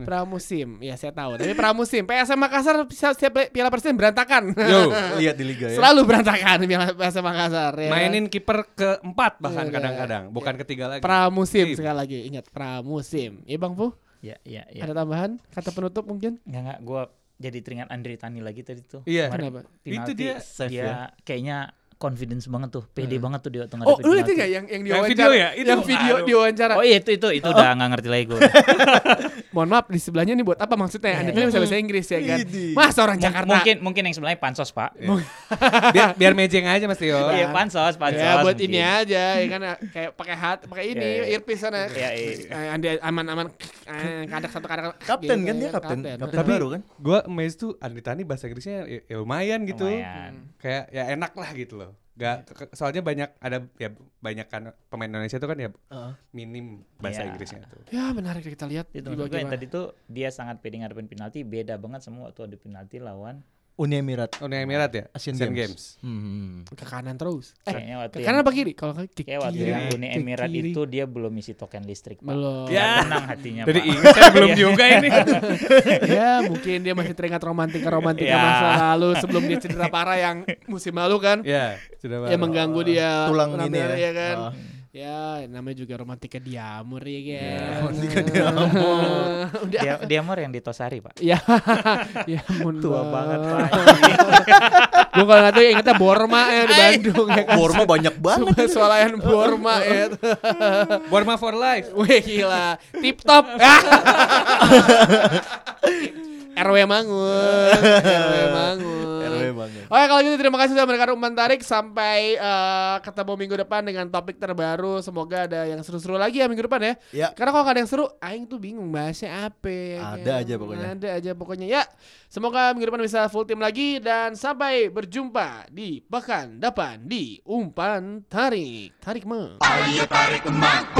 Pramusim, ya saya tahu. Tapi pramusim, PSM Makassar setiap setiap Piala Presiden berantakan. Yo. Lihat di liga ya. Selalu berantakan Piala PSM Makassar. Ya. Mainin kiper keempat bahkan Iya. kadang-kadang, bukan ketiga lagi. Iya. pramusim sekali lagi, ingat pramusim. Iya Bang Fu, Iya, iya, iya. ada tambahan kata penutup mungkin? Enggak, enggak. Gue jadi teringat Andri Tani lagi tadi tuh. Iya. Kemarin Kenapa? Penalti, Itu dia save dia ya. kayaknya confidence banget tuh. Pede banget tuh dia waktu Oh, ngadepin lu lihat ya? penalti. enggak yang yang Yang diwawancara? video ya? Itu. Yang video Aduh. diwawancara. Oh iya itu itu itu udah nggak ngerti lagi gue. Mohon maaf di sebelahnya ini buat apa maksudnya? Anda bisa bahasa Inggris ya Iya, kan? Widih. Mas orang Jakarta. Iya, Ya, Mungkin mungkin yang sebenarnya pansos pak. biar, biar mejeng aja Mas Tio. Iya pansos pansos. Ya buat mungkin. ini aja ya kan kayak pakai hat pakai ini Ya, ya. earpiece sana. Ya, iya. Eh, Andi aman-aman eh, kadang satu kadang Kapten gitu kan ya dia kapten. Kapten Tapi- baru kan? Gua amazed tuh Andri Tani bahasa Inggrisnya ya, ya lumayan gitu. Lumayan. Hmm. Iya. Kayak ya enak lah gitu loh. Gak, ke- ke- soalnya banyak ada ya banyak kan pemain Indonesia tuh kan ya minim bahasa Iya. Inggrisnya tuh. Ya menarik deh kita lihat Itu di maksud gue bagian yang tadi tuh dia sangat pede ngadepin penalti. Beda banget semua waktu ada penalti lawan. Uni Emirat. Oh. Uni Emirat ya? Asian Games. Hmm. ke kanan terus. Eh, Kayaknya waktu ke yang- kanan apa kiri? Kalau ke Kayak waktu kiri, yang Uni ke Emirat kiri. itu dia belum isi token listrik pak. belum. Nggak Ya. Tenang hatinya Jadi Iya, pak. ingat saya belum juga ini. Ya, mungkin dia masih teringat romantika romantika Ya. masa lalu sebelum dia cedera parah yang musim lalu kan. Ya, sudah Ya malam. mengganggu dia Iya, Tulang ini penampilannya, ya. kan. Oh. Ya namanya juga romantika diamur ya kan. romantika diamur. Udah dia, dia mor yang di Tosari pak. Ya, ya ampun Tua Bang. banget pak. Gue kalau nggak tahu ya ingetnya Borma ya di Bandung ya kan. Borma banyak Cuma banget. soalayan Borma ya. Borma for life. Wih gila, tip top. RW Mangun, RW Mangun. RW banget. Oke kalau gitu terima kasih sudah mendengar umpan tarik sampai eh, ketemu minggu depan dengan topik terbaru. Semoga ada yang seru-seru lagi ya minggu depan ya. Ya. Karena kalau nggak ada yang seru, aing tuh bingung bahasnya apa. ya Ada aja pokoknya. Ada aja pokoknya. Ya, semoga minggu depan bisa full tim lagi dan sampai berjumpa di pekan depan di umpan tarik. Tarik mah. Ayo tarik emak